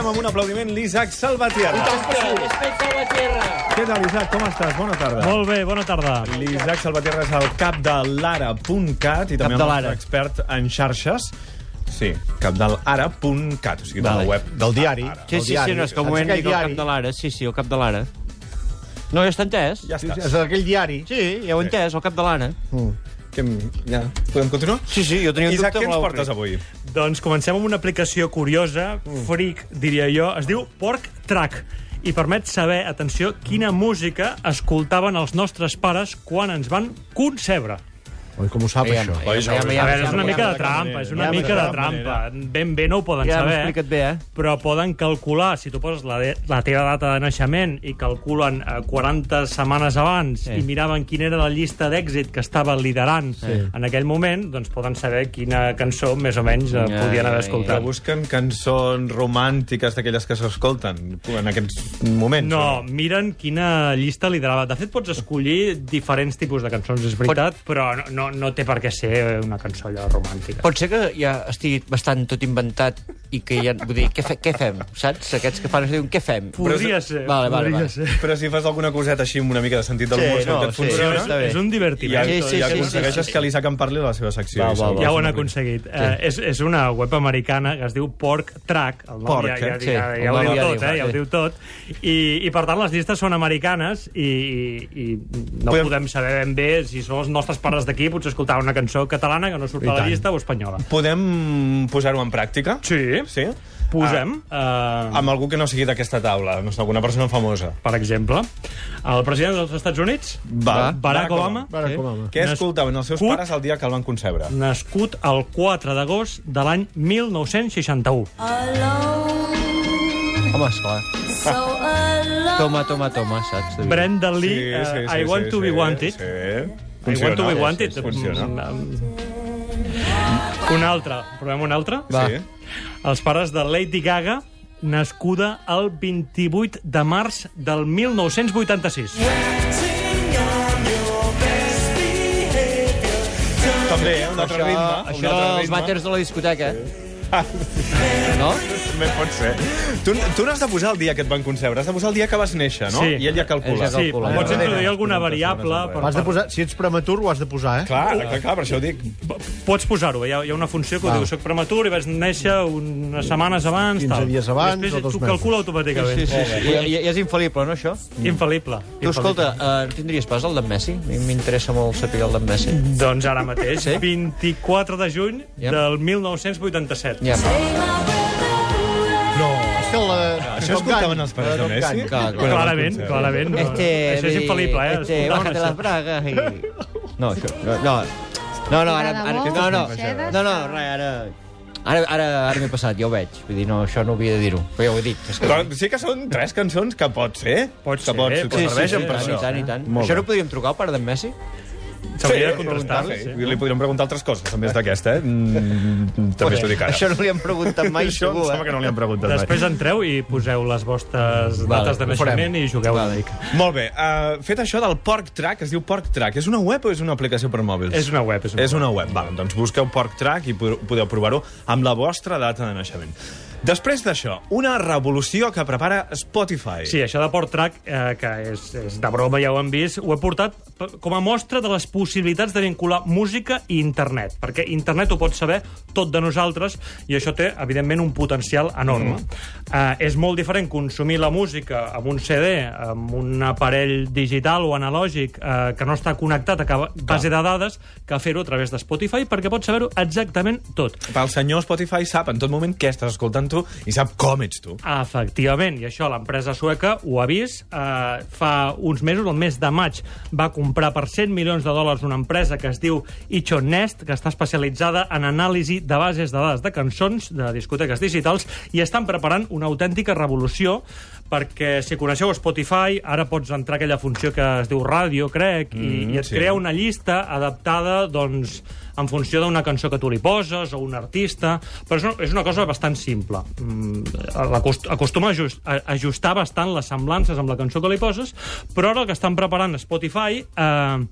amb un aplaudiment l'Isaac Salvatierra. Què tal, Isaac? Com estàs? Bona tarda. Molt bé, bona tarda. L'Isaac Salvatierra és el cap de l'ara.cat i també de el l'Ara. nostre expert en xarxes. Sí, capdelara.cat, o sigui, de la Vale. web. Del diari. Ara. Sí, sí, sí, no, és que m'ho Saps hem dit aquell al diari? cap de l'ara. Sí, sí, al cap de l'ara. No, ja està entès? Ja Sí, sí, estàs. És aquell diari. Sí, ja ho he entès, al cap de l'ara. Que, ja. Podem continuar? Sí, sí, jo tenia un Isaac, dubte. què Eh. però ens l'ha portes avui? Doncs comencem amb una aplicació curiosa, freak, diria jo. Es diu Pork Track i permet saber, atenció, quina música escoltaven els nostres pares quan ens van concebre. Oi, com ho sap, Aviam, això? aviam, aviam, A aviam, veure, és una aviam, mica aviam. de trampa, és una Ja, mica de de cap trampa. Ben bé no ho poden Ja m'ho saber. explicat bé, eh? Però poden calcular, si tu poses la, de, la teva data de naixement i calculen eh, 40 setmanes abans Sí. i miraven quina era la llista d'èxit que estava liderant en aquell moment, doncs poden saber quina cançó més o menys eh, Ja, podien ja, haver Que ja. escoltat. busquen cançons romàntiques d'aquelles que s'escolten en aquests moments. No, miren quina llista liderava. De fet, pots escollir diferents tipus de cançons, és veritat, però no, no, no té per què ser una cançó allò romàntica. Pot ser que ja estigui bastant tot inventat i que ja... Vull dir, què, fe, què fem, saps? Aquests que fan es diuen què fem. Podria ser. Vale, vale, podria vale. ser. Però si fas alguna coseta així amb una mica de sentit de Sí, l'humor, segur no, que et sí, funciona. sí, està bé. És un divertiment. I, Sí, sí, sí, i sí, aconsegueixes sí, sí. que l'Isaac en parli de la seva secció. Va, i va, segur va. que Ja ho han se'n aconseguit. Eh, és, és una web americana que es diu Pork Track. El nom Pork, ja, ja, eh? ja, Sí, ja, el ho nom diu ja tot, diu, eh? Ja ho sí. diu tot. I, I, per tant, les llistes són americanes i, i, i no Podem- podem... podem saber ben bé si són els nostres pares d'aquí, potser escoltar una cançó catalana que no surt a la llista o espanyola. Podem posar-ho en pràctica? Sí, Sí? posem... eh, Ah, amb algú que no sigui d'aquesta taula, no sé, alguna persona famosa. per exemple, el president dels Estats Units, Va. Barack, Obama, Barack Obama. Què Nascut- escoltaven els seus pares el dia que el van concebre? nascut el 4 d'agost de l'any 1961. Home, esclar. Toma, toma, toma, saps? De vida. Brenda Lee, eh, I want to be wanted. Sí. I want to be sí, wanted. Sí, funciona. Mm, mm. Un altre, provem un altre. Va. Sí. Els pares de Lady Gaga, nascuda el 28 de març del 1986. També, eh, un altre Això, ritme. un això altre els ritme. vàters de la discoteca. No? També pot ser. Tu, tu n'has de posar el dia que et van concebre, has de posar el dia que vas néixer, no? Sí. I ell ja calcula. Ell ja Sí, calcula. pots Ja. introduir alguna variable. Has per- Has de posar, si ets prematur, ho has de posar, eh? Clar, clar, clar, per això ho dic. Pots posar-ho, hi, ha- hi ha una funció que ho diu, soc prematur i vaig néixer unes setmanes abans, 15 tal. dies abans I després o dos tu mesos. calcula automàticament. Sí, sí, sí. I, i, i és infal·lible, no, això? Infal·lible. Tu, escolta, eh, no tindries pas el d'en Messi? A mi m'interessa molt saber el d'en Messi. Doncs ara mateix, Sí? 24 de juny Ja. del 1987. Ja, Això, la... Això escoltaven els pares de Messi? Clar, clar. Quan el van Clarament, concebre. clarament. no. Este, Això és infal·lible, eh? Este, Escolta'm, bájate això. las bragas i... No, això, no, no. No, no, ara, ara, no, no, no, no, res, ara... Ara, ara, ara m'he passat, ja ho veig. Vull dir, no, això no havia de dir-ho, però ja ho he dit. És que... Però sí que són tres cançons que pot ser. Pot que ser, pot ser. pot que ser, serveixen sí, per i això. tant, i tant. Molt això bé. no podríem trucar al pare d'en Messi? S'hauria de preguntar contrastar-li, sí. Li podríem preguntar altres coses, a més d'aquesta, eh? Mm, també t'ho dic ara. Això no li han preguntat mai, això em segur, sembla que eh? no li han preguntat Després entreu i poseu les vostres Vale, dates de ho farem. naixement i jugueu una Vale. mica. mai. Molt bé. Uh, fet això del Pork Track, es diu Pork Track. És una web o és una aplicació per mòbils? És una web, és una És una web. Val, doncs busqueu Pork Track i po- podeu provar-ho amb la vostra data de naixement. Després d'això, una revolució que prepara Spotify. Sí, això de Port Track, eh, que és, és de broma, ja ho hem vist, ho he portat p- com a mostra de les possibilitats de vincular música i internet, perquè internet ho pot saber tot de nosaltres i això té, evidentment, un potencial enorme. Mm. Eh, és molt diferent consumir la música amb un CD, amb un aparell digital o analògic eh, que no està connectat a cap base de dades, que fer-ho a través de Spotify, perquè pots saber-ho exactament tot. El senyor Spotify sap en tot moment què estàs escoltant tu i sap com ets tu. Efectivament, i això l'empresa sueca ho ha vist. Eh, fa uns mesos, el mes de maig, va comprar per 100 milions de dòlars una empresa que es diu Ichonest, que està especialitzada en anàlisi de bases de dades de cançons de discoteques digitals i estan preparant una autèntica revolució perquè si coneixeu Spotify, ara pots entrar a aquella funció que es diu ràdio, crec, i, i et sí. crea una llista adaptada, doncs, en funció d'una cançó que tu li poses o un artista, però és una, és una cosa bastant simple. Mm, l'acost- Acostuma a ajust- a ajustar bastant les semblances amb la cançó que li poses, però ara el que estan preparant a Spotify eh,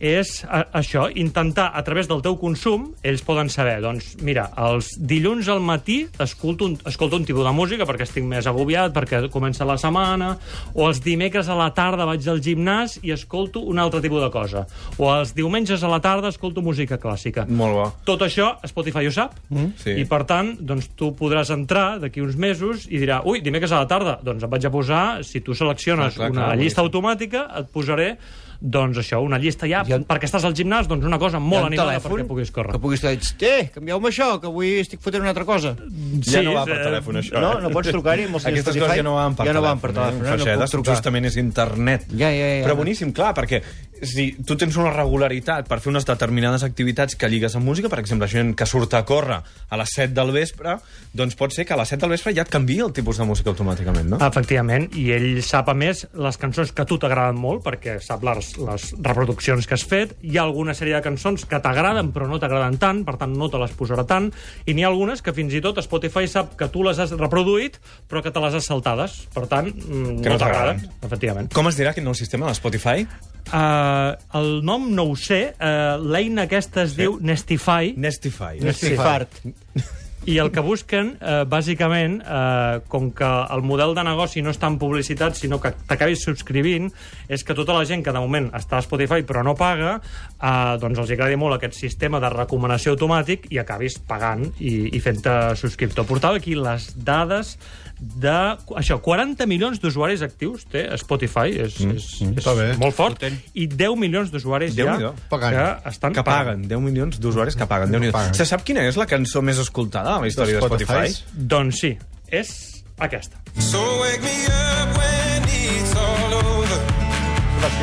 és a, això, intentar, a través del teu consum, ells poden saber, doncs, mira, els dilluns al matí escolto un, escolto un tipus de música perquè estic més agobiat, perquè comença la setmana, o els dimecres a la tarda vaig al gimnàs i escolto un altre tipus de cosa, o els diumenges a la tarda escolto música clàssica. Molt bo. Tot això Spotify ho sap, mm. Sí. i per tant, doncs, tu podràs entrar d'aquí uns mesos i dirà, ui, dimecres a la tarda, doncs em vaig a posar, si tu selecciones Clar, clar, una clar, llista automàtica, et posaré doncs això, una llista ja, Hi ha un- perquè estàs al gimnàs, doncs una cosa molt animada perquè puguis córrer. que puguis dir, eh, canvieu-me això, que avui estic fotent una altra cosa. Ja no va per eh, telèfon, això. no, eh? no pots trucar-hi amb els senyors Aquestes Spotify. coses ja no van per Ja no van telèfon. per telèfon, eh? no, no Faixedes, puc trucar. Justament és internet. Ja, ja, ja. Però boníssim, clar, perquè si tu tens una regularitat per fer unes determinades activitats que lligues amb música, per exemple, gent que surt a córrer a les 7 del vespre, doncs pot ser que a les 7 del vespre ja et canviï el tipus de música automàticament, no? Efectivament, i ell sap, a més, les cançons que a tu t'agraden molt, perquè sap les, les reproduccions que has fet. Hi ha alguna sèrie de cançons que t'agraden però no t'agraden tant, per tant no te les posarà tant, i n'hi ha algunes que fins i tot Spotify sap que tu les has reproduït però que te les has saltades. Per tant, mm, Que no no t'agraden. t'agraden. Efectivament. Com es dirà aquest nou sistema de Spotify? Uh, el nom no ho sé, uh, l'eina aquesta es sí. diu Nestify, Nestify. Estic fart. I el que busquen, eh, bàsicament, eh, com que el model de negoci no està en publicitat, sinó que t'acabis subscrivint, és que tota la gent que de moment està a Spotify però no paga, eh, doncs els agradi molt aquest sistema de recomanació automàtic i acabis pagant i, i fent-te subscriptor. Portava aquí les dades de... Això, 40 milions d'usuaris actius té Spotify, és, és, és, Està bé. molt fort, i 10 milions d'usuaris ja Déu-n'hi-do, pagant. que estan Que paguen, 10 milions d'usuaris que paguen. Déu-n'hi-do. Paguen. Se sap quina és la cançó més escoltada a la història de Spotify? Spotify? Doncs sí, és aquesta. So wake me up when it's all over.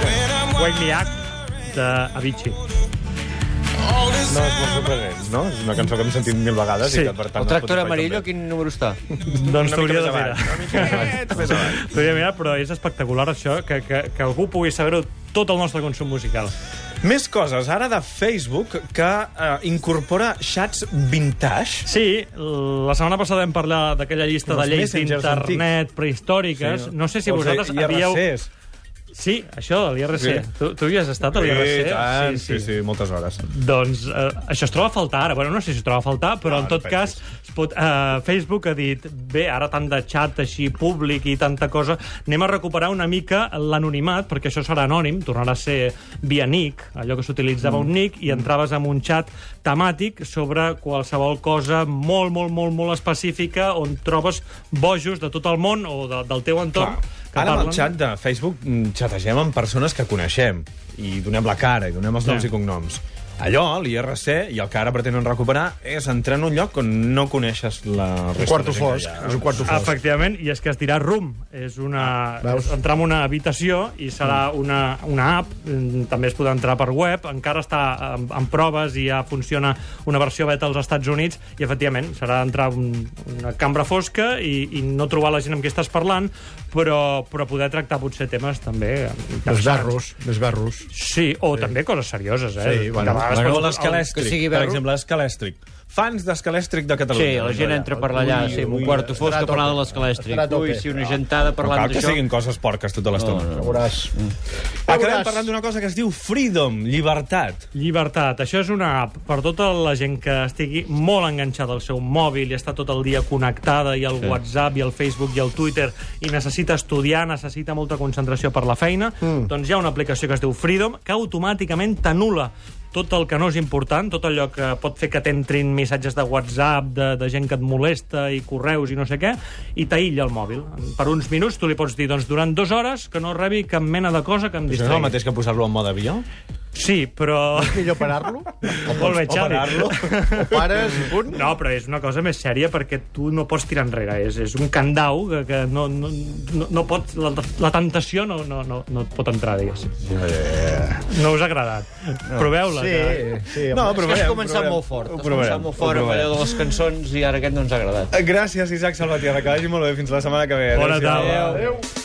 When I'm Wake Me Up d'Avicii. all this No, és molt sorprenent, no? És una cançó que hem sentit mil vegades Sí. i que, per tant... El tractor Spotify amarillo, també. quin número està? Doncs Una mica t'hauria més de avall. mirar. Una mica més avall. T'hauria de mirar, però és espectacular això, que, que, que algú pugui saber tot el nostre consum musical. Més coses, ara de Facebook, que eh, incorpora xats vintage. Sí, la setmana passada hem parlat d'aquella llista Els de lleis messengers d'internet prehistòriques. Sí, no. no sé si Vols dir vosaltres havíeu... IRCs? Sí, això de l'IRC. Sí. Tu, tu hi has estat, a Sí, l'IRC? tant, sí, sí, moltes hores. Doncs eh, això es troba a faltar ara. Bueno, no sé si es troba a faltar, però No, no, en tot no cas pensis. es pot, eh, Facebook ha dit bé, ara tant de xat així públic i tanta cosa, anem a recuperar una mica l'anonimat, perquè això serà anònim, tornarà a ser via nick, allò que s'utilitzava mm. un nick, i entraves en un xat temàtic sobre qualsevol cosa molt, molt, molt, molt específica on trobes bojos de tot el món o de, del teu Clar, entorn que ara amb el parlen. xat de Facebook mm, xategem amb persones que coneixem i donem la cara i donem els noms Sí. i cognoms. Allò, l'IRC, i el que ara pretenen recuperar, és entrar en un lloc on no coneixes la resta Un quarto de gent que hi fosc. ha. És un quarto fosc. Efectivament, i és que es dirà room. És una... Ah, Veus? És entrar en una habitació i serà una, una app, mm, també es podrà entrar per web, encara està en, en proves i ja funciona una versió beta als Estats Units, i efectivament serà entrar en una cambra fosca i, i no trobar la gent amb qui estàs parlant, però, però poder tractar potser temes també... Doncs Desverros, desverros. Sí, o sí. també coses serioses, eh? Sí, bueno, De vegades Bueno, pots- l'escalèstric, que sigui per verro. exemple, l'escalèstric. Fans d'escalèstric de Catalunya. Sí, la gent entra per allà, sí, amb un quarto fosc estarà que a parlant de tope. Estarà a l'escalèstric. tope. Ui, si una gentada No parlant cal que d'això... siguin coses porques tota l'estona. No, no. Veuràs. Acabem Veuràs. parlant d'una cosa que es diu freedom, llibertat. Llibertat. Això és una app per tota la gent que estigui molt enganxada al seu mòbil i està tot el dia connectada i al sí. WhatsApp i al Facebook i al Twitter i necessita estudiar, necessita molta concentració per la feina, mm. doncs hi ha una aplicació que es diu Freedom que automàticament t'anul·la tot el que no és important, tot allò que pot fer que t'entrin missatges de WhatsApp, de, de gent que et molesta i correus i no sé què, i t'aïlla el mòbil. Per uns minuts tu li pots dir, doncs durant dues hores que no rebi cap mena de cosa que em Això és el distregui. mateix que posar-lo en mode avió? Sí, però... Millor parar-lo? O Molt bé, pots- Xavi. Parar-lo? O pares i punt? No, però és una cosa més sèria perquè tu no pots tirar enrere. És, és un candau que, que no, no, no, no pot... La, la tentació no, no, no, no et pot entrar, diguéssim. No us ha agradat. No. Proveu-la. que- Sí, sí. No, home. però Però has veiem, començat provem. molt fort. Has Ho provem, començat molt ho fort amb provem. allò de les cançons i ara aquest no ens ha agradat. Gràcies, Isaac Salvatierra. Que vagi molt bé. Fins la setmana que ve. Bona Adéu-siau. tarda. Adéu. Adéu.